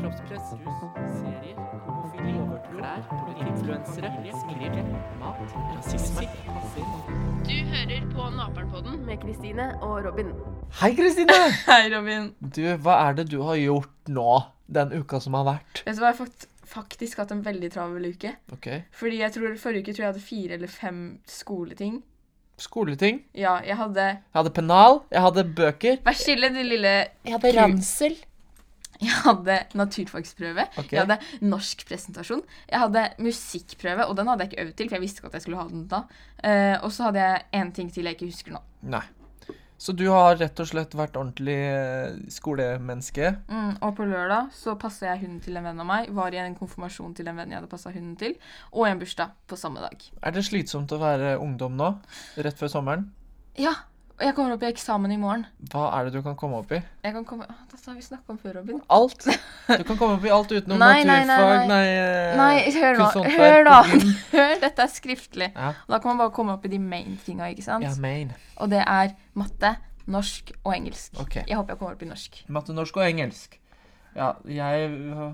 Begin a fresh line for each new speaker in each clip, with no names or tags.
kroppspress, rus, serier, homofili, klær, influensere, skrive, mat, rasisme,
Du hører på Naperen-podden med Kristine og Robin.
Hei, Kristine!
Hei, Robin.
Du, hva er det du har gjort nå? Den uka som har vært?
Vet du hva, jeg har fakt- faktisk hatt en veldig travel uke.
Ok.
Fordi jeg tror Forrige uke tror jeg hadde fire eller fem skoleting.
Skoleting.
Ja, jeg hadde
Jeg hadde pennal. Jeg hadde bøker.
Vær stille, du lille
Jeg
hadde
ransel.
Jeg hadde naturfagsprøve.
Ok.
Jeg hadde norsk presentasjon. Jeg hadde musikkprøve, og den hadde jeg ikke øvd til, for jeg visste ikke at jeg skulle ha den da. Eh, og så hadde jeg én ting til jeg ikke husker nå.
Nei. Så du har rett og slett vært ordentlig eh, skolemenneske.
Mm, og på lørdag så passa jeg hunden til en venn av meg. Var i en konfirmasjon til en venn jeg hadde passa hunden til. Og en bursdag på samme dag.
Er det slitsomt å være ungdom nå? Rett før sommeren?
Ja, og jeg kommer opp i eksamen i morgen.
Hva er det du kan komme opp i?
Jeg kan komme... Åh, Dette har vi snakka om før, Robin.
Alt. Du kan komme opp i alt utenom
Nei, nei, nei,
naturfag,
nei.
nei, eh,
Nei, hør nå.
kunsthåndverk,
Hør, da.
koking.
Hør, dette er skriftlig.
Ja.
Og da kan man bare komme opp i de main tinga, ikke sant?
Ja, main.
Og det er matte, norsk og engelsk.
Ok.
Jeg håper jeg kommer opp i norsk.
Matte, norsk og engelsk. Ja, jeg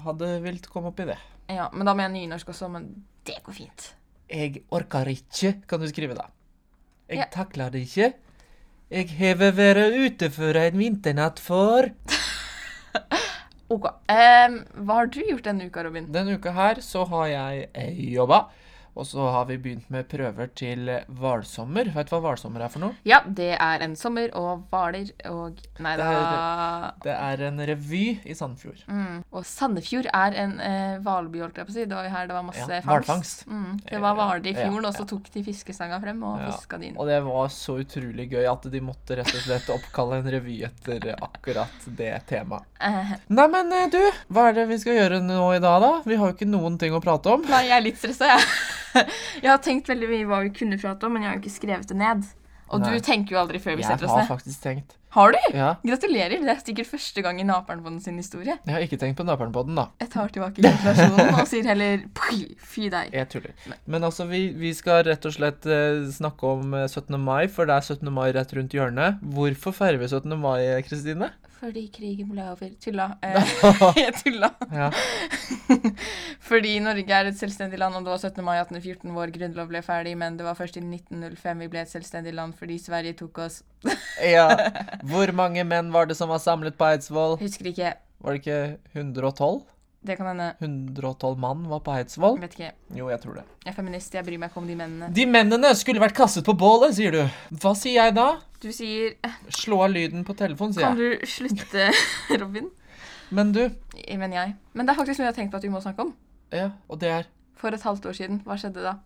hadde vilt komme opp i det.
Ja, Men da må jeg nynorsk også, men det går fint.
Jeg orker ikke, kan du skrive da. Jeg
Ja.
takler det ikke. Jeg hever vært ute for en vinternatt for.
Ok. Em, hva har du gjort denne uka, Robin?
Denne uka her så har jeg eh, jobba. Og så har vi begynt med prøver til eh, hvalsommer. Vet du hva hvalsommer er for noe?
Ja, det er en sommer og hvaler og Nei
Det
da.
Det er en revy i Sandfjord.
Mm. Og Sandefjord er en eh, hvalby, holdt jeg på å si. Det var jo her det var masse
Ja,
fangst.
hvalfangst.
Mm. Det var hvaler i
Ja,
fjorden, og
ja.
så tok de fiskestanga frem og
Ja,
fiska de inn.
Og det var så utrolig gøy at de måtte rett og slett oppkalle en revy etter eh, akkurat det temaet.
Eh,
Neimen, du, hva er det vi skal gjøre nå i dag, da? Vi har jo ikke noen ting å prate om.
Nei, jeg er litt stressa, jeg. Jeg har tenkt veldig mye hva vi kunne prate om, men jeg har jo ikke skrevet det ned. Og
Nei.
du tenker jo aldri før vi
Jeg
setter oss
har
ned.
faktisk tenkt.
Har du?
Ja.
Gratulerer. Det er sikkert første gang i Naperen på den sin historie.
Jeg har ikke tenkt på naperen-podden, da.
Jeg tar tilbake gratulasjonen og sier heller pui, fy deg.
Jeg tuller. Men altså, vi, vi skal rett og slett eh, snakke om eh, 17. mai, for det er 17. mai rett rundt hjørnet. Hvorfor feirer vi 17. mai, eh, Kristine?
Fordi krigen ble over. Tulla. Eh, jeg tulla.
Ja.
Fordi Norge er et selvstendig land, og det var 17. mai 1814 vår grunnlov ble ferdig, men det var først i 1905 vi ble et selvstendig land fordi Sverige tok oss
ja. Hvor mange menn var det som var samlet på Eidsvoll?
Husker ikke.
Var det ikke 112?
Det kan hende.
112 mann var på Eidsvoll?
Vet ikke.
Jo, jeg tror det.
Jeg er feminist, jeg bryr meg ikke om de mennene.
De mennene skulle vært kastet på bålet, sier du. Hva sier jeg da?
Du sier
Slå av lyden på telefonen, sier
Kan
jeg.
du slutte, Robin?
Men du,
Men jeg. Men det er faktisk noe jeg har tenkt på at vi må snakke om.
ja, og det er
For et halvt år siden. Hva skjedde da?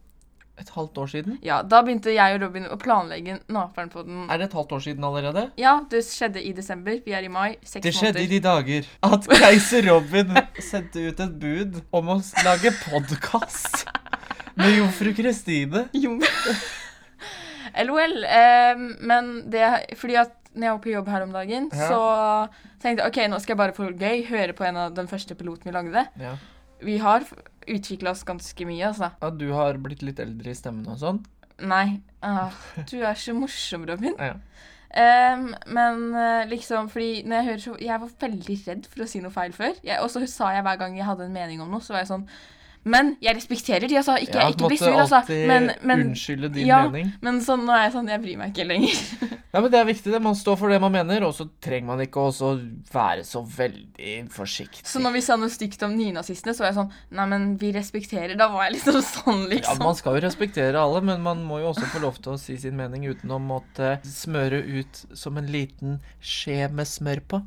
et halvt år siden.
Ja, Da begynte jeg og Robin å planlegge naperen på den.
Er det et halvt år siden allerede?
Ja, det skjedde i desember. Vi er i mai. Seks
Det skjedde i
måneder.
de dager at keiser Robin sendte ut et bud om å s- lage podkast med jomfru Kristine.
Jo. LOL. Eh, men det Fordi at når jeg var på jobb her om dagen,
Ja.
så tenkte jeg OK, nå skal jeg bare for gøy høre på en av den første piloten vi lagde.
Ja.
Vi har utvikla oss ganske mye, altså.
Ja, du har blitt litt eldre i stemmen og sånn.
Nei. Ah, du er så morsom, Robin.
Ja.
Em, men eh, liksom, fordi når jeg hører så Jeg var veldig redd for å si noe feil før. Jeg- Og så sa jeg hver gang jeg hadde en mening om noe, så var jeg sånn Men jeg respekterer de, altså. Ikke,
Ja,
ikke bli
måtte
sur, altså.
alltid
Men, men,
unnskylde din
ja.
mening.
men sånn, nå er jeg sånn Jeg bryr meg ikke lenger.
Ja, men Det er viktig. det. Man står for det man mener, og så trenger man ikke også være så veldig forsiktig.
Så når vi sa noe stygt om nynazistene, så var jeg sånn Nei, men vi respekterer. Da var jeg liksom sånn,
Ja,
liksom.
Man skal jo respektere alle, men man må jo også få lov til å si sin mening uten å måtte smøre ut som en liten skje med smør på.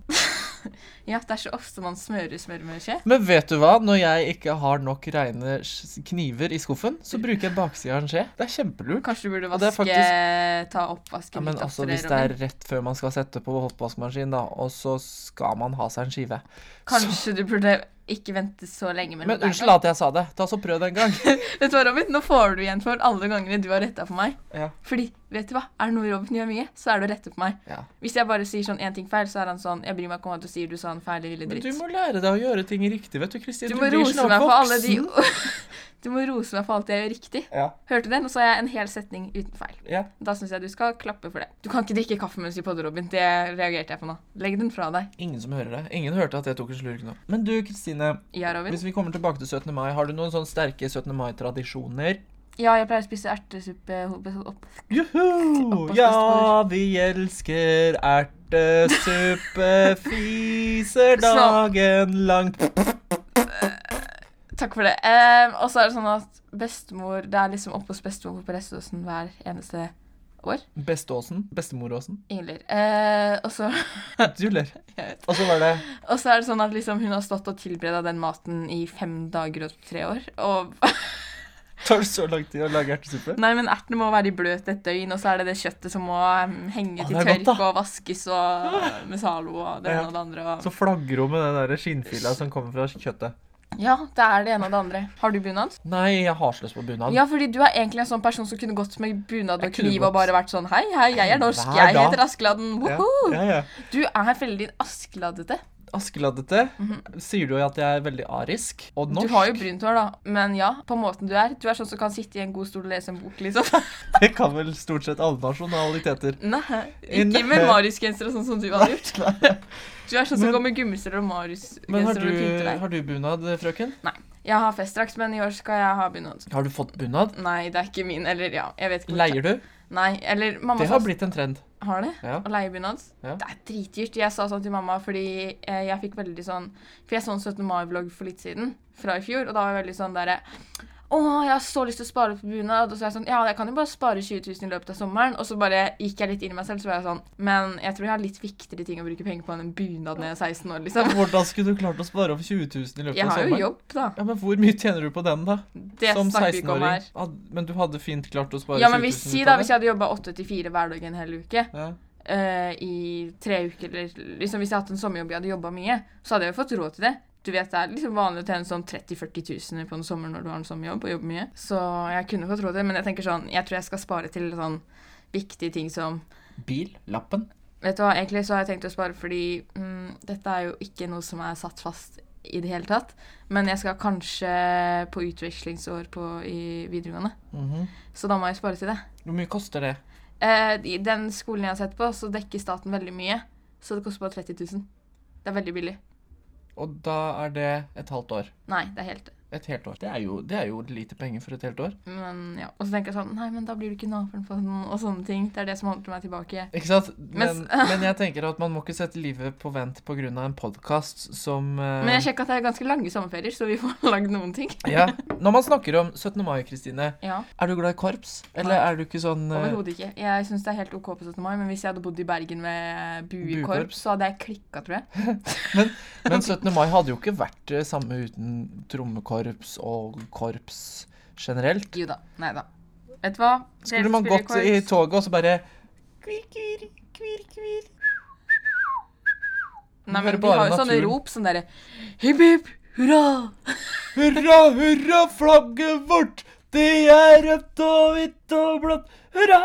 Ja, det er så ofte man smører smør med skje.
Men vet du hva? Når jeg ikke har nok reine s- kniver i skuffen, så bruker jeg baksida av en skje. Det er kjempelurt.
Kanskje du burde
Og det er
vaske Ta oppvasken
Ja, men
litt
altså,
oftere,
hvis det er
Robin.
rett før man skal sette på oppvaskmaskinen, da, og så skal man ha seg en skive
Kanskje du burde ikke vente så lenge mellom
Men
hver
unnskyld at jeg sa det. Ta så Prøv det en gang.
Vet du hva, Robin? Nå får du igjen for alle gangene du har retta på meg.
Ja.
Fordi, vet du hva? Er det noe Robin gjør mye, så er det å rette på meg.
Ja.
Hvis jeg bare sier sånn én ting feil, så er han sånn Jeg bryr meg ikke om hva du sier, du sa en feil, din lille
Men
dritt.
du må lære deg å gjøre ting riktig, vet du, Kristin.
Du må rose meg for alle de Du må rose meg for alt jeg gjør riktig.
Ja.
Hørte du det? Nå sa jeg en hel setning uten feil.
ja.
Da syns jeg du skal klappe for det. Du kan ikke drikke kaffe mens du podder, Robin. Det reagerte jeg på nå. Legg den fra deg.
Ingen som hører det. Ingen hørte at jeg tok en slurk nå. Men du, Kristine.
Ja, Robin?
Hvis vi kommer tilbake til 17. mai, har du noen sånne sterke 17. mai-tradisjoner?
Ja, jeg pleier å spise ertesuppe ho- opp.
Juhu!
Oppvaskbestor.
Ja, vi elsker ertesuppe, fiser dagen langt
Takk for det. Ehm, og så er det sånn at bestemor Det er liksom oppe hos bestemor på Reståsen hver eneste år.
Besteåsen? Bestemoråsen?
Ingen ler. Eh, og så
Du ler.
Jeg vet.
Og så var det
Og så er det sånn at liksom hun har stått og tilbereda den maten i fem dager og tre år. Og
Tar det så lang tid å lage ertesuppe?
Nei, men ertene må være i bløt et døgn, og så er det det kjøttet som må um, henge
Å,
til
det er godt,
tørk
da.
og vaskes og eh, med Zalo og det
Ja.
ene og det andre.
Så
Og...
flagrer hun med den der skinnfila som kommer fra kjøttet.
Ja, det er det ene og det andre. Har du bunad?
Nei, jeg har sløst på bunad.
Ja, fordi du er egentlig en sånn person som kunne gått med bunad
Jeg
og
kunne
kniv
gått.
og bare vært sånn Hei, hei, jeg er norsk.
Hver
Jeg
dag.
heter Askeladden.
Ja,
Woho!
ja, ja.
Du er veldig askeladdete.
Askeladdete. Sier du jo at jeg er veldig arisk og norsk?
Du har jo brunt hår, da. Men ja, på måten du er. Du er sånn som kan sitte i en god stol og lese en bok, liksom.
Det kan vel stort sett alle nasjonaliteter.
Nei,
Nei.
ikke med Marius-genser og sånn som du hadde gjort. Du er sånn som
Men-
går med gummistøvler og
Men har
Marius-genser og pynter
du,
deg.
har du bunad, frøken?
Jeg har festdrakt, men i år skal jeg ha bunad.
Har du fått bunad?
Nei, det er ikke min. Eller ja, jeg vet ikke. hvor-
Leier du?
Nei, eller mamma
Det
sa
har blitt en trend.
Har det?
Ja.
Å leie bunad?
Ja.
Det er dritdyrt. Jeg sa sånn til mamma fordi eh, jeg fikk veldig sånn For jeg så en 17. mai-vlogg for litt siden, fra i fjor, og da var jeg veldig sånn derre å, jeg har så lyst til å spare på bunad. Og så er jeg sånn, ja, jeg kan jo bare spare 20 000 i løpet av sommeren. Og så bare gikk jeg litt inn i meg selv, så var jeg sånn Men jeg tror jeg har litt viktigere ting å bruke penger på enn en bunad når jeg er 16 år, liksom.
Hvordan skulle du klart å spare opp 20 000 i løpet
Jeg
av
har
sommeren?
jo jobb, da.
Ja, men Hvor mye tjener du på den, da?
Det snakker vi ikke om her.
Ah, Men du hadde fint klart å spare
Ja, men
20 000
hvis, si
ut
da,
av
hvis
det?
jeg hadde jobba 8-4 hver dag en hel uke
Ja.
eh, i tre uker, eller liksom hvis jeg hadde hatt en sommerjobb jeg hadde jobba mye, så hadde jeg jo fått råd til det. Du vet, Det er liksom vanlig å tjene sånn 30 000-40 000 på en sommer når du har en sommerjobb og jobber mye. Så jeg kunne fått råd til det, men jeg tenker sånn, jeg tror jeg skal spare til sånn viktige ting som
Bil? Lappen?
Vet du hva, egentlig så har jeg tenkt å spare fordi mm, dette er jo ikke noe som er satt fast i det hele tatt. Men jeg skal kanskje på utvekslingsår på, i videregående,
Mhm.
så da må jeg spare til det.
Hvor mye koster det?
Eh, I den skolen jeg har sett på, så dekker staten veldig mye. Så det koster bare 30 000. Det er veldig billig.
Og da er det et halvt år.
Nei, det er helt
Et helt år. Det er jo, det er jo lite penger for et helt år.
Men ja, Og så tenker jeg sånn Nei, men da blir du ikke naboen på den, og sånne ting. Det er det som holder meg tilbake.
Ikke sant? Men,
Men-
men jeg tenker at man må ikke sette livet på vent pga. en podkast som eh,
Men jeg sjekka at det er ganske lange sommerferier, så vi får lagd noen ting.
ja. Når man snakker om 17. mai, Kristine,
Ja,
er du glad i korps? Eller
Nei.
er du ikke sånn eh,
Overhodet ikke. Jeg syns det er helt OK på 17. mai, men hvis jeg hadde bodd i Bergen med buekorps,
Buekorps.
så hadde jeg klikka, tror jeg.
Men 17. mai hadde jo ikke vært det samme uten trommekorps og korps generelt.
Jo da. Nei da. Vet du hva?
Skulle man gått i toget og så bare
Nei,
Hører
men vi
bare
har jo sånne
naturen.
rop, sånn derre Hipp, hipp, hurra!
Hurra, hurra, flagget vårt! Det er rødt og hvitt og blått. Hurra!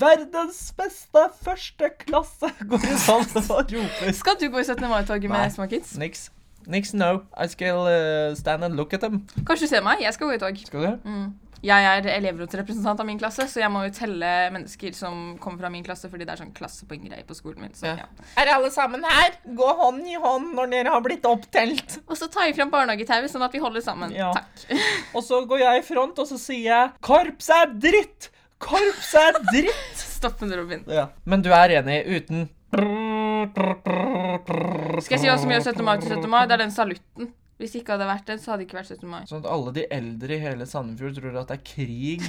Verdens beste første klasse går i salen og roper.
Skal du gå i 17. mai-toget
Nei.
med små kids?
Niks. Niks, no. I skal eh, stand and look at them.
Kanskje du ser meg? Jeg skal gå i tog.
Skal du?
Mm. Jeg er elevrådsrepresentant av min klasse, så jeg må jo telle mennesker som kommer fra min klasse, fordi det er sånn klassepoenggreie på skolen min. Så,
Ja.
ja.
Er alle sammen her? Gå hånd i hånd når dere har blitt opptelt.
Og så tar jeg fram barnehagetauet, sånn at vi holder sammen.
Ja.
Takk.
Og så går jeg i front, og så sier jeg 'Korps er dritt! Korps er dritt!'
Stopp med det, Robin.
Men du er enig uten
Skal jeg si hva som gjør 17. mai til 17. mai? Det er den salutten. Hvis det ikke hadde vært den, så hadde det ikke vært 17. mai.
Sånn at alle de eldre i hele Sandefjord tror at det er krig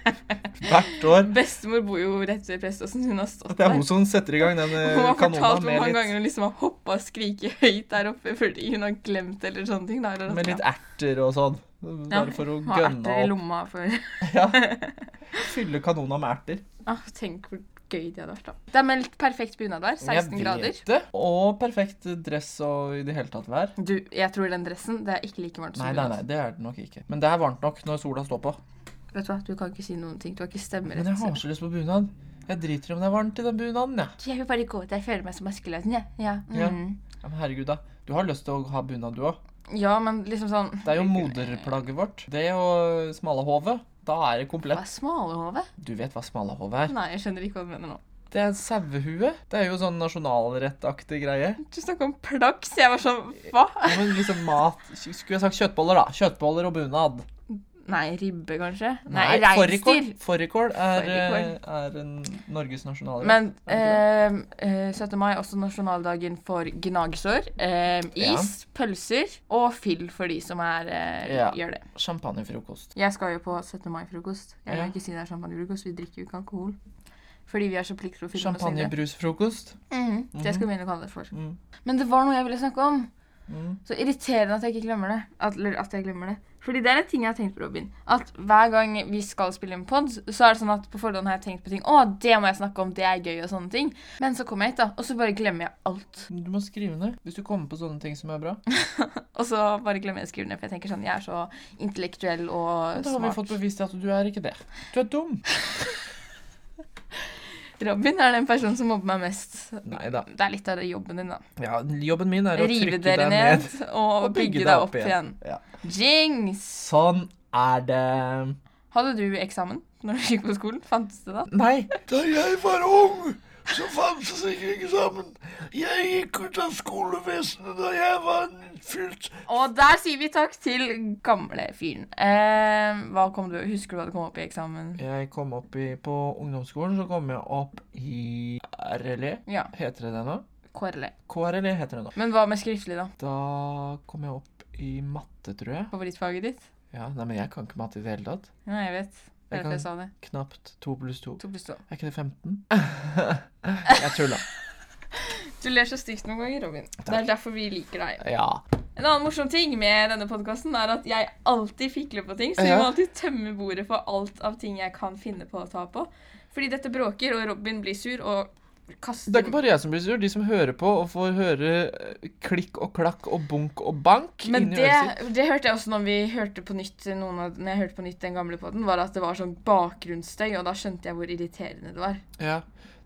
hvert år.
Bestemor bor jo rett ved preståsen. Hun har stått
Det er
der.
hun som setter i gang den eh,
Hun har
kanona
fortalt hvor mange
med
ganger
litt,
hun liksom har hoppa og skriket høyt der oppe fordi hun har glemt det eller sånne ting. Da, eller at-
med
ja.
litt erter og sånn. Bare for å
ha erter i
gønne opp.
lomma for
Ja. Fylle kanona med erter.
ah, Tenk hvor gøy det hadde vært, da. Det er meldt perfekt bunadvær. 16 grader.
det. Og perfekt dress og i det hele tatt vær.
Du, jeg tror den dressen Det er ikke like varmt som
Nei, nei, nei,
bunad.
det er det nok ikke. Men det er varmt nok når sola står på.
Vet du hva, du kan ikke si noen ting. Du har ikke
Men
stemmerett.
jeg har så lyst på bunad. Jeg driter i om det er varmt i den bunaden, jeg.
Jeg vil bare gå ut. Jeg føler meg som Askeladden, jeg. Ja.
Ja.
Mm.
Ja, men herregud, da. Du har lyst til å ha bunad, du òg.
Ja, men liksom sånn
Det er jo moderplagget vårt. Det og smalahove. Da er det
Hva
komplett.
er smalahove?
Du vet hva smalahove er?
Nei, jeg skjønner ikke hva du mener nå.
Det er sauehue. Det er jo sånn nasjonalrettaktig greie.
Du snakka om plaks. Jeg var sånn Hva?
Ja, men liksom mat Skulle jeg sagt kjøttboller, da? Kjøttboller og bunad.
Nei, ribbe, kanskje? Nei,
fårikål.
reinsdyr.
Fårikål er,
Fårikål.
eh, er en Norges nasjonalrett.
Men
Er
eh, eh, 17. mai er også nasjonaldagen for gnagsår. Eh,
Ja.
is, pølser og fyll for de som er, eh,
Ja.
gjør det.
Champagnefrokost.
Jeg skal jo på 17. mai-frokost. Jeg kan
Ja.
ikke si det er champagnefrokost. Vi drikker jo ikke alkohol. Fordi vi er så pliktprofile. med å si det.
Champagnebrusfrokost.
Mhm, Så jeg skal begynne å kalle det for.
Mm.
Men det var noe jeg ville snakke om.
Mm.
Så irriterende at jeg ikke glemmer det. At, eller at jeg glemmer det. Fordi det er en ting jeg har tenkt på, Robin. At hver gang vi skal spille en pod, så er det sånn at på forhånd har jeg tenkt på ting. Å, det må jeg snakke om, det er gøy, og sånne ting. Men så kommer jeg hit, da, og så bare glemmer jeg alt.
Du må skrive ned hvis du kommer på sånne ting som er bra.
Og så bare glemmer jeg å skrive ned, for jeg tenker sånn, jeg er så intellektuell og
Da har vi fått
smart.
bevist at du er ikke det. Du er dum.
Robin er den personen som mobber meg mest.
Nei da.
Det er litt av det jobben din, da.
Ja, jobben min er å
Rive
trykke
dere
deg
ned,
ned.
og, bygge deg opp igjen.
Ja.
Jings!
Sånn er det.
Hadde du eksamen når du gikk på skolen? Fantes det da?
Nei.
Da jeg var ung, så fantes ikke eksamen. Jeg gikk ut av skolevesenet da jeg var en fylt
Og der sier vi takk til gamle fyren. Eh, hva kom du, husker du hva det kom opp i eksamen?
Jeg kom opp i, på ungdomsskolen, så kom jeg opp i RLE.
Ja,
Heter det det nå?
KRLE.
KRLE E heter det nå.
E. Men hva med skriftlig, da?
Da kom jeg opp i matte, tror jeg.
Favorittfaget ditt?
Ja, nei, men jeg kan ikke matte i det hele tatt.
Ja, jeg vet. Det
Jeg
er derfor
kan-
jeg sa det.
Knapt to pluss to.
To pluss to.
Er ikke det 15? jeg tulla.
Du ler så stygt noen ganger, Robin. Det er derfor vi liker deg.
Ja.
En annen morsom ting med denne podkasten er at jeg alltid fikler på ting, så jeg
Ja.
må alltid tømme bordet for alt av ting jeg kan finne på å ta på. Fordi dette bråker, og Robin blir sur og kaster
Det er ikke bare jeg som blir sur. De som hører på og får høre eh, klikk og klakk og bunk og bank
Men
inni
det,
øret sitt.
det hørte jeg også når vi hørte på nytt noen av, når jeg hørte på nytt den gamle podden, var at det var sånn bakgrunnsstøy, og da skjønte jeg hvor irriterende det var.
Ja.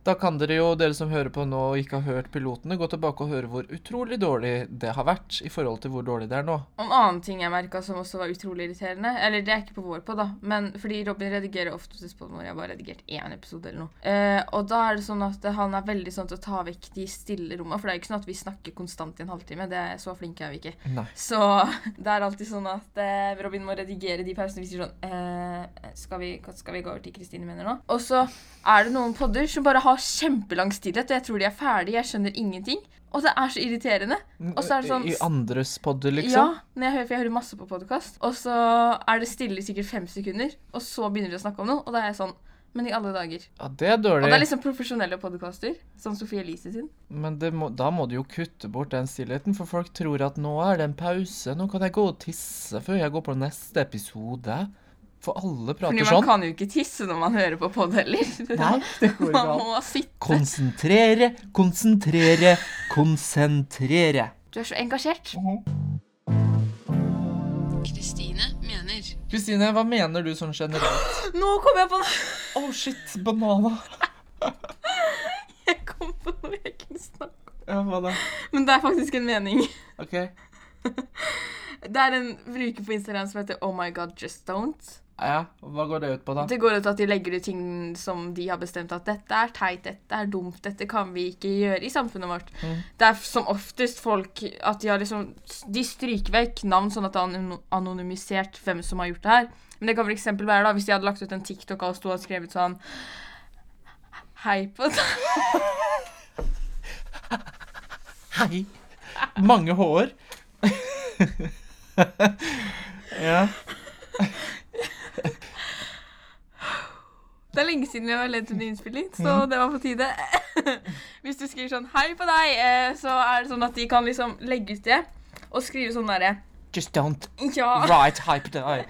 Da kan dere jo, dere som hører på nå og ikke har hørt pilotene, gå tilbake og høre hvor utrolig dårlig det har vært i forhold til hvor dårlig det er nå.
Og En annen ting jeg merka som også var utrolig irriterende Eller det er ikke på vår på, da, men fordi Robin redigerer oftest på når jeg bare har redigert én episode eller noe. Eh, og da er det sånn at han er veldig sånn til å ta vekk de stille rommene, for det er jo ikke sånn at vi snakker konstant i en halvtime. Det er Så flinke er vi ikke.
Nei.
Så det er alltid sånn at eh, Robin må redigere de pausene. Vi sier sånn eh, skal, vi, skal vi gå over til Kristine mener nå? Og så er det noen podder som bare har kjempelang stillhet, og jeg tror de er ferdige, jeg skjønner ingenting. Og det er så irriterende. Og så er det sånn
I andres podder,
Ja,
liksom.
når jeg hører, for jeg hører masse på podkast. Og så er det stille i sikkert fem sekunder, og så begynner de å snakke om noe, og da er jeg sånn Men i alle dager.
Ja, det er
Og
dårlig.
det er liksom profesjonelle podkaster, som Sofie Elise sin.
Men det må, da må du jo kutte bort den stillheten, for folk tror at nå er det en pause. Nå kan jeg gå og tisse før jeg går på neste episode. For alle
Fordi
prater
man
sånn.
kan jo ikke tisse når man hører på pod heller.
Nei, det går ikke
Man
an.
må sitte
Konsentrere, konsentrere, konsentrere.
Du er så engasjert.
Mhm.
Kristine mener
Kristine, hva mener du sånn generelt?
Nå kom jeg på noe!
Oh shit, banana.
Jeg kom på noe jeg kunne snakke om.
Ja, hva da?
Men det er faktisk en mening.
Ok.
Det er en bruker på Instagram som heter Oh my god, just don't.
Ja, hva går det ut på da?
Det går ut at de legger ut ting som de har bestemt at dette er teit, dette er dumt, dette kan vi ikke gjøre i samfunnet vårt.
Mhm.
Det er som oftest folk at de har liksom De stryker vekk navn, sånn at det er anon- anonymisert hvem som har gjort det her. Men det kan for eksempel være da, hvis de hadde lagt ut en TikTok og stod og skrevet sånn Hei på deg.
Hei. Mange hår. ja.
Det er lenge siden vi har ledd under innspilling, så det var på tide. Hvis du skriver sånn 'hei på deg', eh, så er det sånn at de kan liksom legge ut det. Og skrive sånn derre
Just don't
Ja,
write hype die.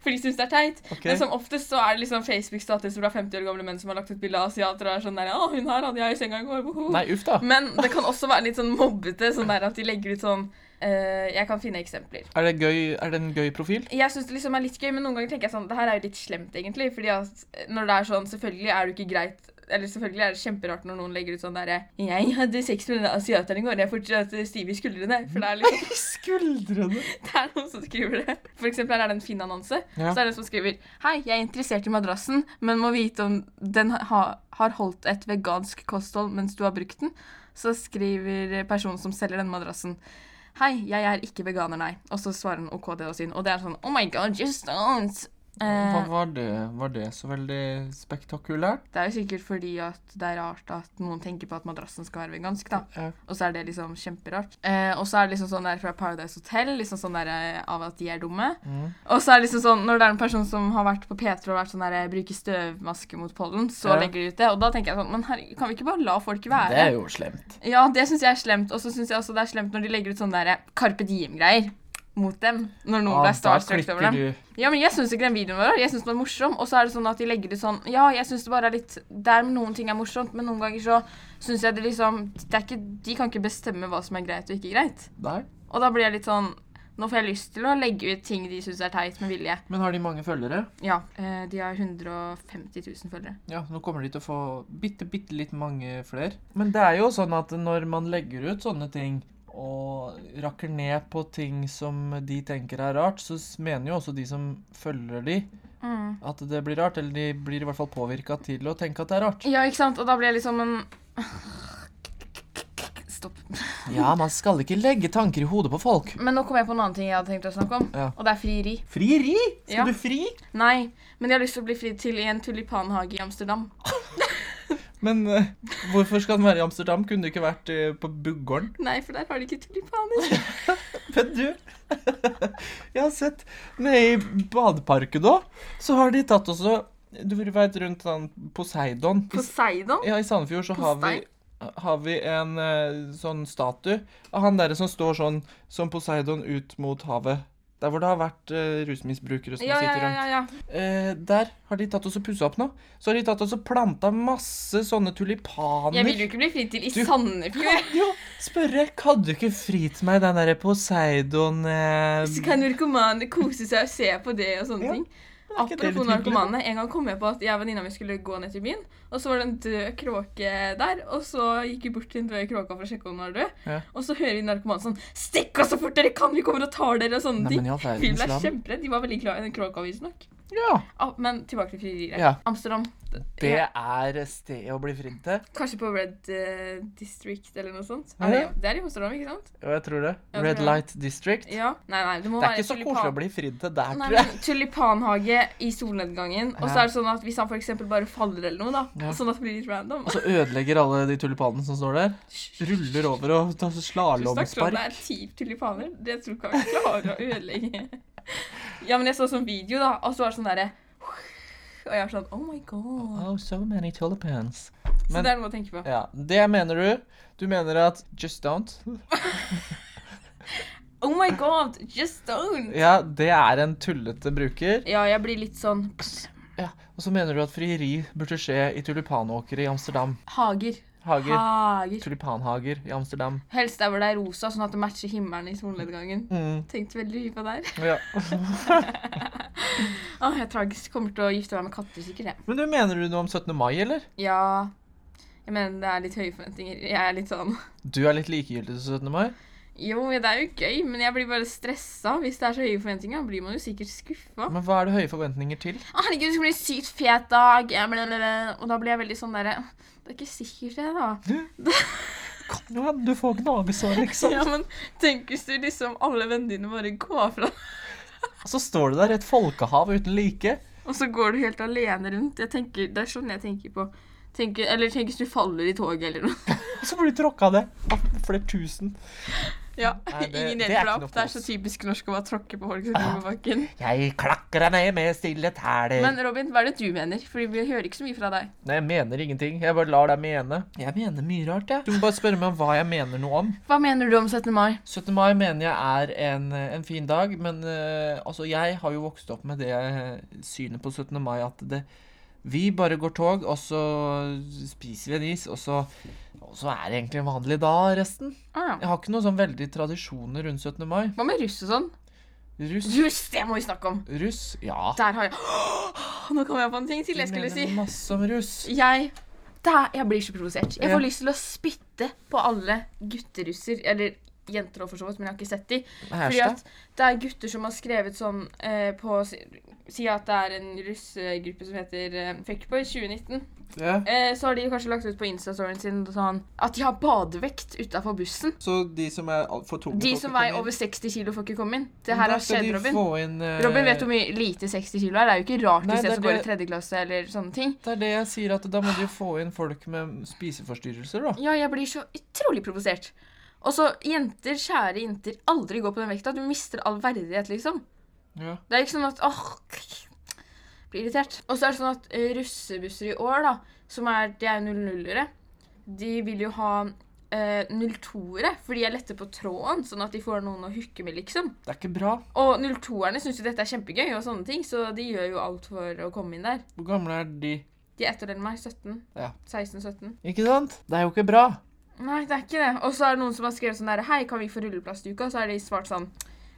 for de syns det er teit.
Ok.
Men som oftest så er det liksom Facebook-status fra 50 år gamle menn som har lagt ut bilde av asiater og er sånn der 'Å, hun her hadde jeg i senga i går', boho.
Nei, uff da.
Men det kan også være litt sånn mobbete, sånn der at de legger ut sånn eh, Jeg kan finne eksempler.
Er det, gøy, er det en gøy profil?
jeg syns det liksom er litt gøy, men noen ganger tenker jeg sånn Det her er jo litt slemt, egentlig. Fordi at når det er sånn Selvfølgelig er det jo ikke greit Eller selvfølgelig er det kjemperart når noen legger ut sånn derre 'Jeg hadde sex med denne asiateren i går. Jeg er fortsatt stiv i skuldrene.' For det er liksom
skuldrene.
Det er noen som skriver det. For eksempel her er det en fin annonse.
Ja.
Så er det en som skriver Hei, jeg er interessert i madrassen, men må vite om den ha, har holdt et vegansk kosthold mens du har brukt den. Så skriver personen som selger den madrassen Hei, jeg er ikke veganer, nei. Og så svarer han OK, det var synd. Og det er sånn Oh my god, just don't.
Hva
Eh,
var det? Var det så veldig spektakulært?
det er jo sikkert fordi at det er rart at noen tenker på at madrassen skal være vegansk, da.
Ja.
Og så er det liksom kjemperart. Eh, og så er det liksom sånn der fra Paradise Hotel, liksom sånn der eh, av at de er dumme.
Mhm.
Og så er det liksom sånn, når det er en person som har vært på P3 og vært sånn der, eh, bruker støvmaske mot pollen, så
Ja.
legger de ut det. Og da tenker jeg sånn, men herregud, kan vi ikke bare la folk være?
Det er jo slemt.
Ja, det syns jeg er slemt. Og så syns jeg også det er slemt når de legger ut sånne der eh, Carpe Diem-greier mot dem. Når
Ja,
noen ble starstruck
klikker
over dem.
du.
Ja, men jeg syns ikke den videoen var rar. Jeg syns den var morsom. Og så er det sånn at de legger det sånn Ja, jeg syns det bare er litt Der noen ting er morsomt, men noen ganger så syns jeg det liksom det er ikke, De kan ikke bestemme hva som er greit og ikke greit.
Nei.
Og da blir jeg litt sånn Nå får jeg lyst til å legge ut ting de syns er teit, med vilje.
Men har de mange følgere?
Ja. Eh, de har 150 000 følgere.
Ja, nå kommer de til å få bitte, bitte litt mange flere. Men det er jo sånn at når man legger ut sånne ting og rakker ned på ting som de tenker er rart, så s- mener jo også de som følger de,
Mm.
at det blir rart. Eller de blir i hvert fall påvirka til å tenke at det er rart.
Ja, ikke sant? Og da blir jeg liksom en Stopp.
Ja, man skal ikke legge tanker i hodet på folk.
Men nå kom jeg på en annen ting jeg hadde tenkt å snakke om,
Ja.
og det er frieri.
Frieri? Skal
Ja.
du fri?
Nei, men jeg har lyst til å bli fridd til i en tulipanhage i Amsterdam.
Men eh, hvorfor skal den være i Amsterdam? Kunne det ikke vært eh, på Buggården?
Nei, for der har de ikke tulipaner.
Men du, jeg har sett nede i badeparken da, så har de tatt også Du vet rundt den Poseidon? I,
Poseidon?
ja, i Sandefjord så har vi har vi en eh, sånn statue av han derre som står sånn som Poseidon ut mot havet. Der hvor det har vært eh, rusmisbrukere som
Ja, ja,
sitter rundt.
ja, ja, ja.
Eh, der har de tatt oss og pussa opp nå. Så har de tatt oss og planta masse sånne tulipaner.
Jeg vil jo ikke bli fridd til i
Du-
Sandefjord.
Jo, spørre, kan du ikke fri til meg den derre Poseidon eh,
Så kan narkomane kose seg og se på det og sånne
Ja.
ting.
er ikke det
Apropos
litt hyggelig?
narkomane. En gang kom jeg på at jeg og venninna mi skulle gå ned til byen, og så var det en død kråke der. Og så gikk vi bort til den døde kråka for å sjekke om den var død.
Ja.
Og så hører vi narkomane sånn Stikk oss så fort dere kan! Vi kommer og tar dere! Og sånne
Nei, men i
ting.
all
Vi
verdens
ble
land.
kjemperedde. De var veldig glad i den kråka, visstnok.
Ja.
Ah, men tilbake til frieriet.
Ja.
Amsterdam.
Det er stedet å bli fridd til.
Kanskje på Red eh, District eller noe sånt.
Ja,
Er det,
ja.
det er i Amsterdam, ikke sant?
Jo, jeg tror det.
Jeg
Red
tror det.
Light District.
Ja. Nei, nei, det må
Det er
være
ikke så
tulipan-
koselig å bli fridd til der,
Nei,
tror jeg.
men Tulipanhage i solnedgangen. Og så
Ja.
er det sånn at hvis han for eksempel bare faller eller noe, da,
Ja.
sånn at det blir litt random
Og så ødelegger alle de tulipanene som står der. Ruller over og tar
Du snakker om
slalåmspark.
det er ti tulipaner. Det tror jeg ikke han klarer å ødelegge. Ja, men jeg så sånn video, da, og så var det sånn derre Og jeg var sånn Oh my god.
Oh, so many tulipans.
Så
Men-
det er noe å tenke på.
Ja, det mener du. Du mener at just don't.
Oh my god, just don't!
Ja, det er en tullete bruker.
Ja, jeg blir litt sånn
Ja, Og så mener du at frieri burde skje i tulipanåkere i Amsterdam.
Hager.
Hager.
Hager.
Tulipanhager i Amsterdam.
Helst der hvor det er rosa, sånn at det matcher himmelen i solnedgangen.
Mm,
Tenkte veldig mye på det her.
ja.
Åh, jeg er tragisk. Kommer til å gifte meg med katter, sikkert. jeg.
Men du mener du noe om 17. mai, eller?
Ja. Jeg mener, det er litt høye forventninger. Jeg er litt sånn
Du er litt likegyldig til 17. mai?
Jo, det er jo gøy, men jeg blir bare stressa. Hvis det er så høye forventninger, blir man jo sikkert skuffa.
Men hva er det høye forventninger til?
Å, herregud, det skal bli en sykt fet dag. eh, blablabla. Og da blir jeg veldig sånn derre Det er ikke sikkert, det, da.
Kan jo hende du får gnagesår, liksom.
Ja, men tenk hvis du liksom alle vennene dine bare går fra deg,
Så står du der i et folkehav uten like.
og så går du helt alene rundt. Jeg tenker, Det er sånn jeg tenker på. Tenker, eller tenk hvis du faller i toget eller noe.
Og så blir du tråkka ned av flere tusen.
Ja,
Nei, det-
Ingen
det er ikke
hjelper deg
noe Ah.
opp.
for
Det er så
oss.
typisk norsk å bare tråkke på folk som kommer på bakken.
Jeg klakker deg ned med stille tæler.
Men Robin, hva er det du mener? Fordi vi hører ikke så mye fra deg.
Nei, jeg mener ingenting. Jeg bare lar deg mene. Jeg mener mye rart, jeg. Du må bare spørre meg om hva jeg mener noe om.
Hva mener du om 17. mai?
17. mai mener jeg er en, en fin dag, men eh, altså, jeg har jo vokst opp med det eh, synet på 17. mai at det vi bare går tog, og så spiser vi en is, og så, og så er det egentlig en vanlig dag, resten.
Ah, ja.
Jeg har ikke noen sånn veldig tradisjoner rundt 17. mai.
Hva med russ og sånn?
Russ,
Russ, det må vi snakke om!
russ, ja.
Der har jeg Nå kom jeg på en ting til jeg skulle si.
mener masse om russ.
Jeg da, Jeg blir så provosert. Jeg
Ja.
får lyst til å spytte på alle gutterusser. Eller jenter òg, for så vidt, men jeg har ikke sett de. Fordi
Herstad?
at det er gutter som har skrevet sånn eh, på si- Si at det er en russegruppe som heter eh, Fuckboy 2019.
Ja.
Eh, så har de kanskje lagt ut på Insta-storyen sin sånn at de har badevekt utafor bussen.
Så de som er alt for tunge
De
får
som
ikke
veier
komme inn.
over 60 kilo, får ikke komme inn. Det
Men
her
da
har
skal
skjedd,
de
Robin.
få inn, eh,
Robin vet hvor mye lite 60 kilo er. Det er jo ikke rart
Nei,
hvis
det
jeg
er
som går i
det-
tredje klasse eller sånne ting.
Det er det jeg sier, at da må de jo få inn folk med spiseforstyrrelser, da.
Ja, jeg blir så utrolig provosert. Og så jenter, kjære jenter, aldri gå på den vekta. Du mister all verdighet, liksom.
Ja.
Det er ikke sånn at åh, blir irritert. Og så er det sånn at eh, russebusser i år, da, som er, de er 00-ere, de vil jo ha eh, 02-ere, for de er lette på tråden, sånn at de får noen å hooke med, liksom.
Det er ikke bra.
Og 02-erne syns jo dette er kjempegøy, og sånne ting, så de gjør jo alt for å komme inn der.
Hvor gamle er de?
De etterdeler meg 17.
Ja.
16-17.
Ikke sant? Det er jo ikke bra.
Nei, det er ikke det. Og så er det noen som har skrevet sånn der Hei, kan vi få rulleplass til uka? Og så har de svart sånn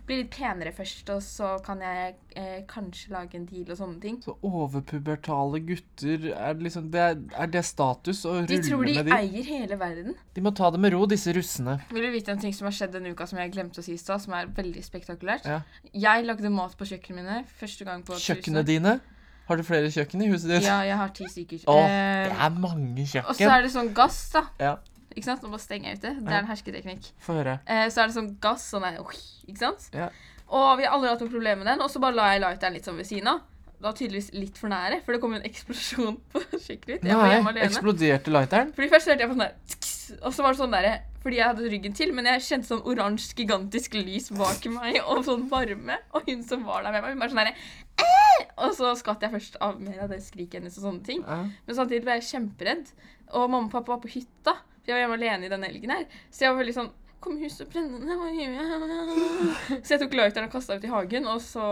Bli litt penere først, og så kan jeg eh, kanskje lage en deal og sånne ting.
Så overpubertale gutter er det liksom det er, er det status å
De
rulle
tror de
med de?
eier hele verden.
De må ta det med ro, disse russene.
Vil du vite en ting som har skjedd denne uka som jeg glemte å si i stad, som er veldig spektakulært?
Ja.
Jeg lagde mat på kjøkkenet mine første gang på
Kjøkkenet dine? Har du flere kjøkken i huset ditt?
Ja, jeg har ti stykker.
Å,
Eh,
det er mange
og så
kjøkken.
er det sånn gass, da.
Ja.
Ikke sant? Nå bare stenger jeg ute. Det
Ja.
er en hersketeknikk.
Få høre.
Eh, så er det sånn gass, sånn der, oi, ikke sant?
Ja.
Og vi har aldri hatt noe problem med den, og så bare la jeg lighteren litt sånn ved siden av. Det var tydeligvis litt for nære, for det kom jo en eksplosjon på kjøkkenet mitt. Jeg var hjemme
Nei,
alene.
eksploderte lighteren?
Fordi først hørte jeg på sånn der, tsk, og så var det sånn der, fordi jeg hadde ryggen til, men jeg kjente sånn oransje, gigantisk lys bak meg, og sånn varme, og hun som var der med meg, hun bare sånn der, «Æ!» og så skatt jeg først av mer av det skriket hennes og sånne ting.
Ja.
Men samtidig ble jeg kjemperedd. Og mamma og pappa var på hytta, for jeg var hjemme alene i den helgen her. Så jeg var veldig sånn Kom huset brennende, hva gjør jeg? Så jeg tok lighteren og kasta ut i hagen, og så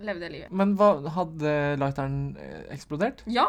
levde jeg livet.
Men hva, hadde lighteren eh, eksplodert?
Ja!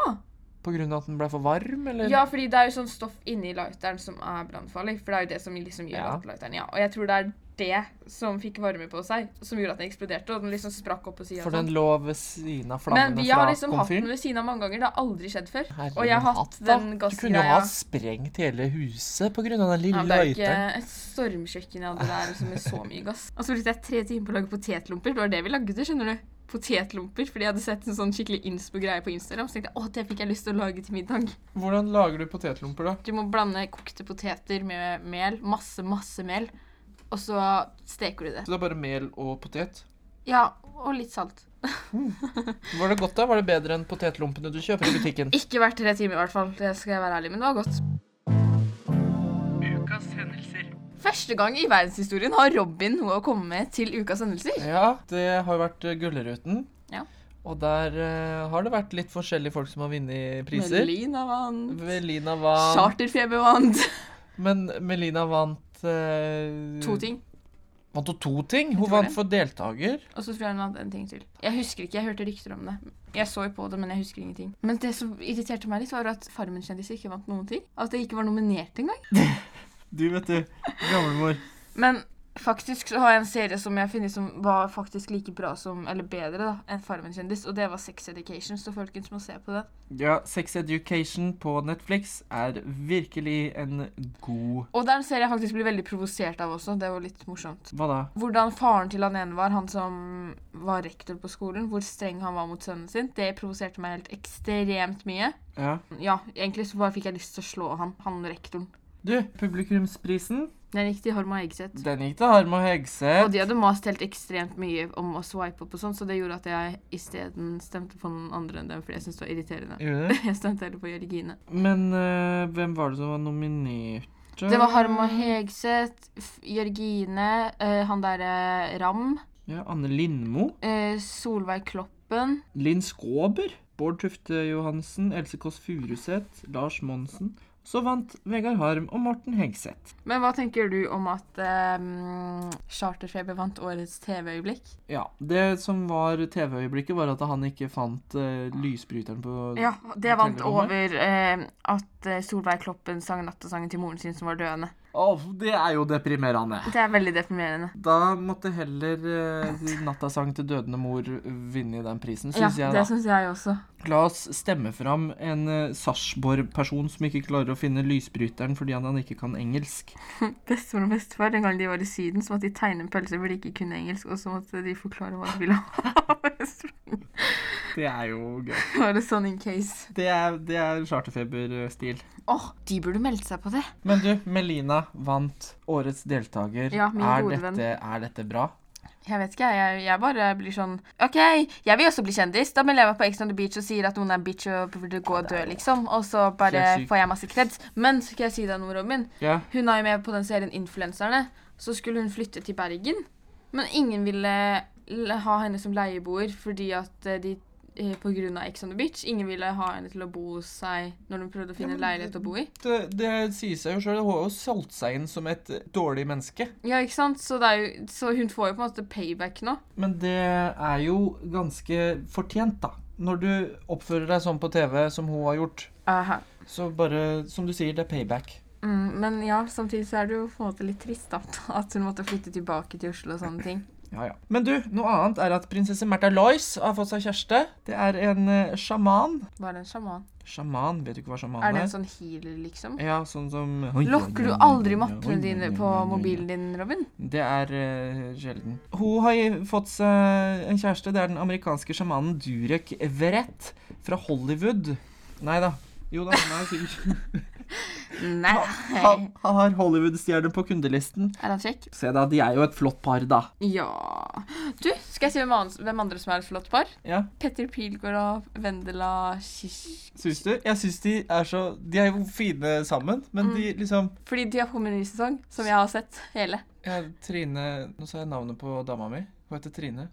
På grunn av at den ble for varm, eller?
ja, fordi det er jo sånn stoff inni lighteren som er brannfarlig. For det er jo det som liksom gjør
Ja.
at lighteren ja. Og jeg tror det er det som fikk varme på seg, som gjorde at den eksploderte. Og den liksom sprakk opp på sida.
For den lå ved siden av
Men
flammene
vi
fra
har liksom hatt den
komfyren?
ved siden av mange ganger. Det har aldri skjedd før.
Herre
og jeg har
min hatt,
hatt
da.
den
Du kunne jo ha
gassgreia.
sprengt hele huset på grunn av den
Ja,
lille
men det er jo ikke
lighteren.
et stormkjøkken jeg hadde der liksom, med så mye gass. Og så brukte jeg tre timer på å lage potetlomper. Det var det vi lagde, skjønner du. Potetlomper. Fordi jeg hadde sett en sånn skikkelig inspo-greie på Instagram. Så tenkte jeg å, det fikk jeg lyst til å lage til middag.
Hvordan lager du potetlomper, da?
Du må blande kokte poteter med mel. Masse, masse mel. Og så steker du det.
Så det er bare mel og potet?
Ja, og litt salt.
Var det godt, da? Var det bedre enn potetlompene du kjøper i butikken?
Ikke hver tre timer, i hvert fall. Det skal jeg være ærlig, men det var godt. Første gang i verdenshistorien har Robin noe å komme med til ukas hendelser.
Ja, det har jo vært eh, Gullruten.
Ja.
Og der eh, har det vært litt forskjellige folk som har vunnet priser.
Melina vant.
Melina vant
Charterfeber vant.
Men Melina vant eh,
To ting.
Vant hun to ting?
tror
Hun vant
det.
for deltaker.
Og så tror jeg hun hadde en ting til. Jeg husker ikke, jeg hørte rykter om det. Jeg så jo på det, men jeg husker ingenting. Men det som irriterte meg litt, var at Farmen-kjendiser ikke vant noen ting. At det ikke var nominert engang.
Du, vet du. Gamlemor.
Men faktisk så har jeg en serie som jeg har funnet som var faktisk like bra som, eller bedre, da, enn Farmen-kjendis, og det var Sex Education, så folkens må se på den.
Ja, Sex Education på Netflix er virkelig en god
Og det er en serie jeg faktisk blir veldig provosert av også. Det var litt morsomt.
Hva da?
Hvordan faren til han ene var, han som var rektor på skolen, hvor streng han var mot sønnen sin, det provoserte meg helt ekstremt mye.
Ja.
Ja, egentlig så bare fikk jeg lyst til å slå han, han rektoren.
Du, publikumsprisen.
Den gikk til Horma Eggseth.
Den gikk til Harm og
Og
Hegseth.
de hadde mast helt ekstremt mye om å swipe opp og sånn, så det gjorde at jeg isteden stemte på noen andre enn dem, fordi jeg syntes det var irriterende.
Gjorde det?
Jeg stemte heller på Jørgine.
Men eh, hvem var det som var nominert?
Det var Harma Hegseth, F- Jørgine, eh, han derre Ram,
Ja, Anne Lindmo.
eh, Solveig Kloppen
Linn Skåber. Bård Tufte Johansen. Else Kåss Furuseth. Lars Monsen. Så vant Vegard Harm og Morten Hegseth.
Men hva tenker du om at um, Charterfeber vant årets TV-øyeblikk?
Ja, Det som var TV-øyeblikket, var at han ikke fant eh, lysbryteren på
Ja, det vant
Forteller om
over eh, at eh, Solveig Kloppen sang nattasangen til moren sin som var døende.
Åh, det er jo deprimerende.
Det er veldig deprimerende.
Da måtte heller eh, nattasang til dødende mor vinne den prisen,
Ja,
syns jeg.
det
da.
syns jeg også.
La oss stemme fram en eh, Sarpsborg-person som ikke klarer å finne lysbryteren fordi han ikke kan engelsk.
Bestemor og bestefar, den gang de var i Syden, så måtte de tegne en pølse hvor de ikke kunne engelsk, og så måtte de forklare hva de ville ha.
Det er jo gøy.
Bare sånn in case.
Det er, det er charterfeber-stil.
Åh, de burde melde seg på det.
Men du, Melina vant årets deltaker.
Ja, min
er,
gode venn.
dette, er dette bra?
Jeg vet ikke, jeg, jeg bare blir sånn OK, jeg vil også bli kjendis. Da melder jeg meg på Ex on the Beach og sier at noen er bitch og burde gå og dø, liksom. Og så bare
Helt sykt.
får jeg masse kreds. Men skal jeg si deg noe, Robin?
Ja.
Hun er jo med på den serien Influenserne. Så skulle hun flytte til Bergen, men ingen ville l- ha henne som leieboer fordi at eh, de eh, på grunn av Ex on the Beach. Ingen ville ha henne til å bo hos seg når hun prøvde å finne en leilighet å bo i.
Det, det sier seg jo sjøl. Hun har jo solgt seg inn som et dårlig menneske.
Ja, ikke sant? Så, det er jo, så hun får jo på en måte payback nå.
Men det er jo ganske fortjent, da. Når du oppfører deg sånn på TV som hun har gjort,
Aha.
så bare, som du sier, det er payback.
Mm, men ja, samtidig så er det jo på en måte litt trist da, at hun måtte flytte tilbake til Oslo og sånne ting.
Ja, ja. Men du, noe annet er at prinsesse Märtha Lois har fått seg kjæreste. Det er en eh, sjaman.
Var det en sjaman?
Sjaman, vet du ikke hva sjaman
Er
er?
det en sånn healer, liksom?
Ja, sånn som
Lokker du aldri mappene dine på mobilen din, Robin?
Det er eh, sjelden. Hun har i- fått seg en kjæreste. Det er den amerikanske sjamanen Durek Everett fra Hollywood. Nei da. Jo da, han er sikkert
Nei.
Han, han har Hollywood-stjerne på kundelisten.
Er han kjekk?
Se da, de er jo et flott par, da.
Ja. Du, skal jeg si hvem, annen, hvem andre som er et flott par?
Ja,
Petter Pilgaard og Vendela Kish.
syns du? Jeg syns de er så De er jo fine sammen, men de
Mm.
liksom
Fordi de har kommet i en ny sesong, som jeg har sett hele.
Ja, Trine Nå sa jeg navnet på dama mi. Hun heter Trine.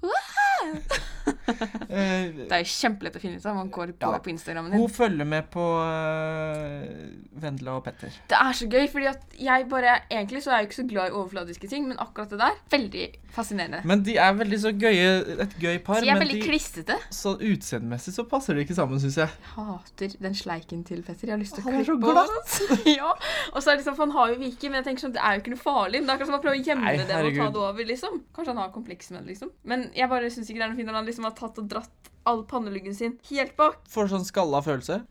Eh,
Det er jo kjempelett å finne ut av. Man går på,
Ja.
på Instagrammen din.
hun følger med på eh, Vendela og Petter.
Det er så gøy, fordi at jeg bare Egentlig så er jeg ikke så glad i overfladiske ting, men akkurat det der, veldig fascinerende.
Men de er veldig så gøye, et gøy par.
De er
men
veldig
de,
klissete.
så utseendemessig så passer de ikke sammen, syns jeg.
Hater den sleiken til Petter. Jeg har lyst til å
Han er så
klippe av den. ja. Og så er det liksom, for han har jo viker, men jeg tenker sånn, det er jo ikke noe farlig. Det er akkurat som å prøve å gjemme
Nei,
det og ta
herregud.
det over, liksom. Kanskje han har kompleks med det, liksom. Men jeg bare syns ikke det er noe fint når han liksom har tatt og dratt all panneluggen sin helt bak.
Får sånn skalla følelse.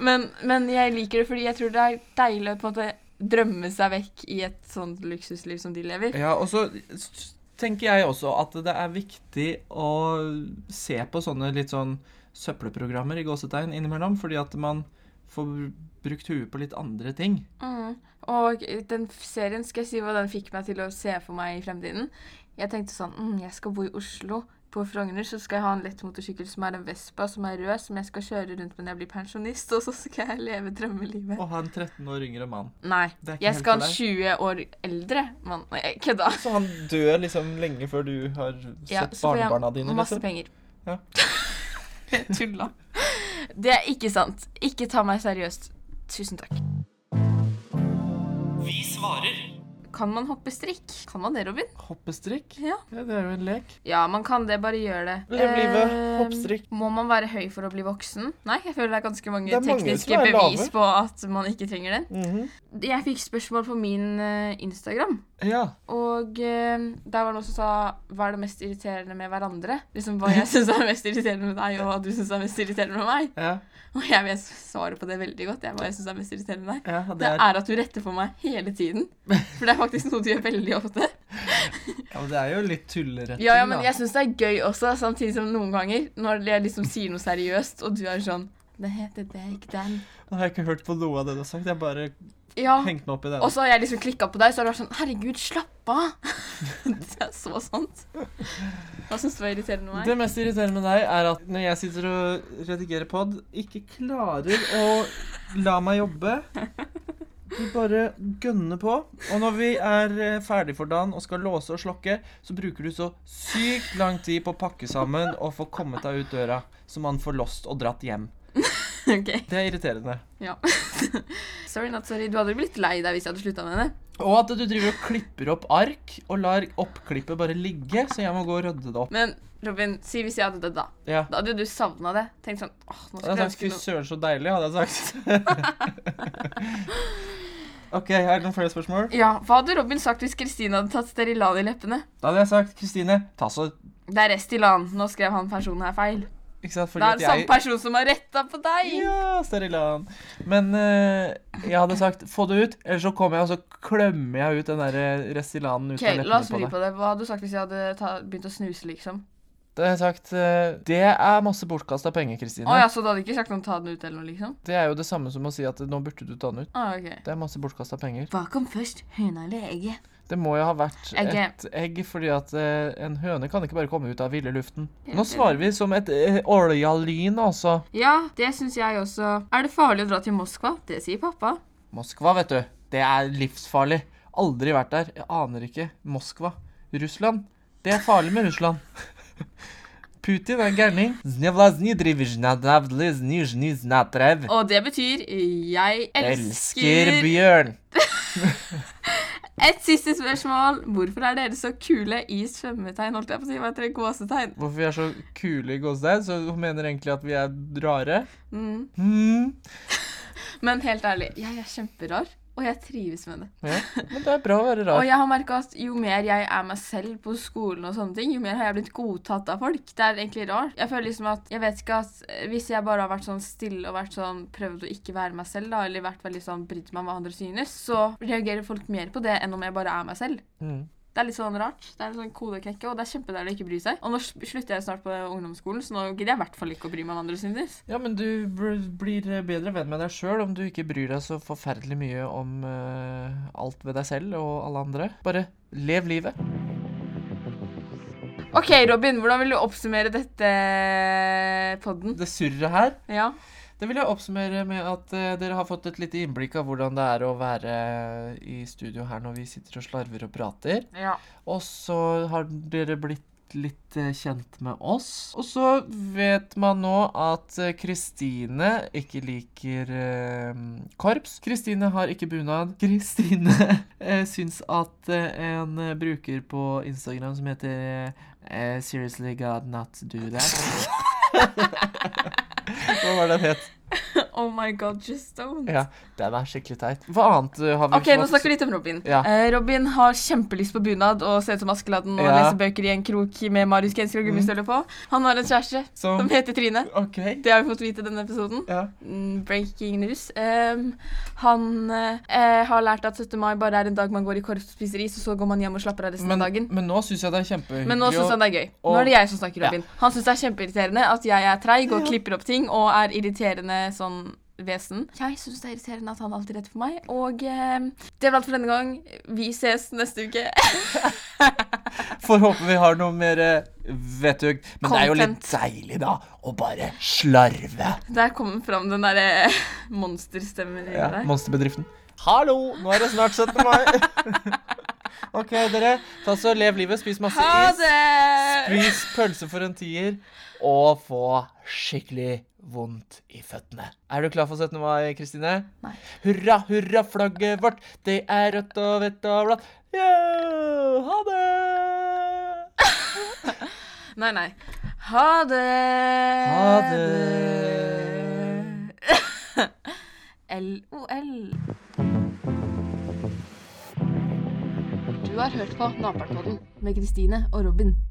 Men, men jeg liker det fordi jeg tror det er deilig å på en måte drømme seg vekk i et sånt luksusliv som de lever.
Ja, og så s- tenker jeg også at det er viktig å se på sånne litt sånn søppelprogrammer i gåsetegn innimellom, fordi at man får brukt huet på litt andre ting.
Mm. Og den f- serien, skal jeg si hva den fikk meg til å se for meg i fremtiden? Jeg tenkte sånn mm, Jeg skal bo i Oslo. På Frogner så skal jeg ha en lett motorsykkel som er en Vespa som er rød, som jeg skal kjøre rundt med når jeg blir pensjonist, og så skal jeg leve drømmelivet.
Å ha en 13 år yngre mann.
Nei.
Det er ikke
Jeg
helt for
skal ha en
deg.
20 år eldre mann. Nei, jeg kødda.
Så han dør liksom lenge før du har sett
Ja, så får jeg
barnebarna dine?
Masse
liksom.
penger.
Ja.
Jeg Tulla. Det er ikke sant. Ikke ta meg seriøst. Tusen takk.
Vi svarer.
Kan man hoppe strikk? Kan man det, Robin?
Hoppestrikk?
Ja.
ja, det er jo en lek.
Ja, man kan det. Bare gjør det.
Lev livet.
Eh,
Hoppstrikk.
Må man være høy for å bli voksen? Nei, jeg føler det er ganske mange
Det er mange
tekniske
som er lave.
bevis på at man ikke trenger den.
Mhm.
Jeg fikk spørsmål på min eh, Instagram,
Ja.
og eh, der var det noen som sa hva er det mest irriterende med hverandre? Liksom hva jeg syns er mest irriterende med deg, og hva du syns er mest irriterende med meg.
ja,
Og jeg vet svaret på det veldig godt. Jeg, hva jeg synes er mest irriterende med deg.
ja
Det er at du retter på meg hele tiden. For det er faktisk noe du gjør veldig ofte.
Ja, men det er jo litt tulleretting,
Ja, ja, men
da.
jeg syns det er gøy også, samtidig som noen ganger, når jeg liksom sier noe seriøst, og du er sånn Det heter det, ikke den.
Nå har jeg ikke hørt på noe av det du har sagt. Jeg har bare
Ja.
hengt meg opp i det.
Og så har jeg liksom klikka på deg, så har du vært sånn Herregud, slapp av. det er så sant. Hva syns du var irriterende med
Det
meg?
mest irriterende med deg er at når jeg sitter og redigerer pod, ikke klarer å la meg jobbe. Du bare gønner på. Og når vi er eh, ferdig for dagen og skal låse og slokke, så bruker du så sykt lang tid på å pakke sammen og få kommet deg ut døra, så man får lost og dratt hjem.
Ok.
Det er irriterende.
Ja. sorry, not sorry. Du hadde jo blitt lei deg hvis jeg hadde slutta med det.
Og at du driver og klipper opp ark og lar oppklippet bare ligge, så jeg må gå og rydde det opp.
Men Robin, si hvis jeg hadde dødd, da.
Ja.
Da hadde jo du savna det. Tenkt sånn åh, nå
Jeg
skulle
hadde
jeg
sagt
ønske
fy
noe.
søren så deilig, hadde jeg sagt. Ok, jeg har noen flere spørsmål.
Ja, Hva hadde Robin sagt hvis Kristine hadde tatt Sterilan i leppene?
Da hadde jeg sagt Kristine, ta så
Det er Restilan. Nå skrev han personen her feil.
Ikke sant? Fordi
Det er
at jeg-
samme person som har retta på deg.
Ja, Sterilan. Men eh, jeg hadde sagt få det ut, eller så kommer jeg og så klemmer jeg ut den der eh, Restilanen ut
Ok,
av
La oss vri
leppene på deg.
på det. Hva hadde du sagt hvis jeg hadde ta, begynt å snuse, liksom?
Da hadde jeg sagt eh, det er masse bortkasta penger, Kristine.
Å ja, Så du hadde ikke sagt noe om ta den ut eller noe, liksom?
Det er jo det samme som å si at nå burde du ta den ut.
Å, ok.
Det er masse bortkasta penger.
Hva kom først, høna eller egget?
Det må jo ha vært
Egget.
et egg, fordi at eh, en høne kan ikke bare komme ut av ville luften. Nå svarer vi som et eh, oljalyn, altså.
Ja, det syns jeg også. Er det farlig å dra til Moskva? Det sier pappa.
Moskva, vet du. Det er livsfarlig. Aldri vært der. Jeg aner ikke. Moskva. Russland. Det er farlig med Russland. Putin er en gærning. Znevlazny drivizhnadavle znizhny znatrev.
Og det betyr jeg elsker,
Elsker bjørn.
Et siste spørsmål. Hvorfor er dere så kule i svømmetegn? Holdt jeg på å si, hva heter det? Gåsetegn.
Hvorfor vi er så kule i gåsetegn, så hun mener egentlig at vi er rare.
Mm.
Hmm.
Men helt ærlig, jeg er kjemperar, og jeg trives med det.
Ja. Men det er bra å være
Og
rar.
jeg har merka at jo mer jeg er meg selv på skolen, og sånne ting, jo mer har jeg blitt godtatt av folk. Det er egentlig rart. Jeg føler liksom at, jeg vet ikke at eh, Hvis jeg bare har vært sånn stille og vært sånn, prøvd å ikke være meg selv, da, eller vært veldig sånn, brydd meg om hva andre synes, så reagerer folk mer på det enn om jeg bare er meg selv.
Mm.
Det er litt sånn rart. Det er en sånn kodeknekke, og det er kjempedeilig å ikke bry seg. Og nå s- slutter jeg snart på ungdomsskolen, så nå gidder jeg i hvert fall ikke å bry meg om hva andre synes.
Ja, men du bl- blir bedre venn med deg sjøl om du ikke bryr deg så forferdelig mye om eh, alt ved deg selv og alle andre. Bare lev livet.
OK, Robin, hvordan vil du oppsummere dette podden?
Det surret her
Ja.
Det vil jeg oppsummere med at eh, dere har fått et lite innblikk av hvordan det er å være eh, i studio her når vi sitter og slarver og prater.
ja.
Og så har dere blitt litt eh, kjent med oss. Og så vet man nå at eh, Kristine ikke liker eh, korps. Kristine har ikke bunad. Kristine eh, syns at eh, en eh, bruker på Instagram som heter eh, Seriously God Not Do That Hva var det den het?
Oh my god, just don't.
Ja, den er skikkelig teit. Hva annet eh, har vi
Ok, nå snakker vi litt om Robin.
Ja.
Eh, Robin har kjempelyst på bunad og ser ut som Askeladden og
Ja. Mm.
leser bøker i en krok med mariusgenser og gummistøvler på. Han har en kjæreste
Som-
som heter Trine.
OK.
Det har vi fått vite i denne episoden.
Ja.
Mm, Breaking news. Ehm, han eh, har lært at 17. mai bare er en dag man går i korps og spiser is, og så går man hjem og slapper av resten
Men,
av dagen.
men nå syns jeg det er kjempehyggelig.
Men nå syns han det er gøy. Nå
og-
er det jeg som snakker, Robin. Han syns det er kjempeirriterende at jeg er treig og klipper opp ting og er irriterende sånn vesen. Jeg syns det er irriterende at han alltid er rett for meg. Og eh, det var alt for denne gang. Vi ses neste uke.
Får håpe vi har noe mer eh, vettug. Men det er jo litt deilig, da, å bare slarve.
Der kom fram den derre monsterstemmen i
Ja,
deg.
monsterbedriften. Hallo, nå er det snart 17. mai. OK, dere. Ta så Lev livet, spis masse
Ha
is.
det!
Spis pølse for en tier, og få skikkelig vondt i føttene. Er du klar for 17. mai, Kristine?
Nei.
Hurra, hurra, flagget vårt, det er rødt og hvitt og blått. Yeah, ha det!
Nei, nei. Ha det.
Ha det.
LOL.
Du har hørt på Naperpodden med Kristine og Robin.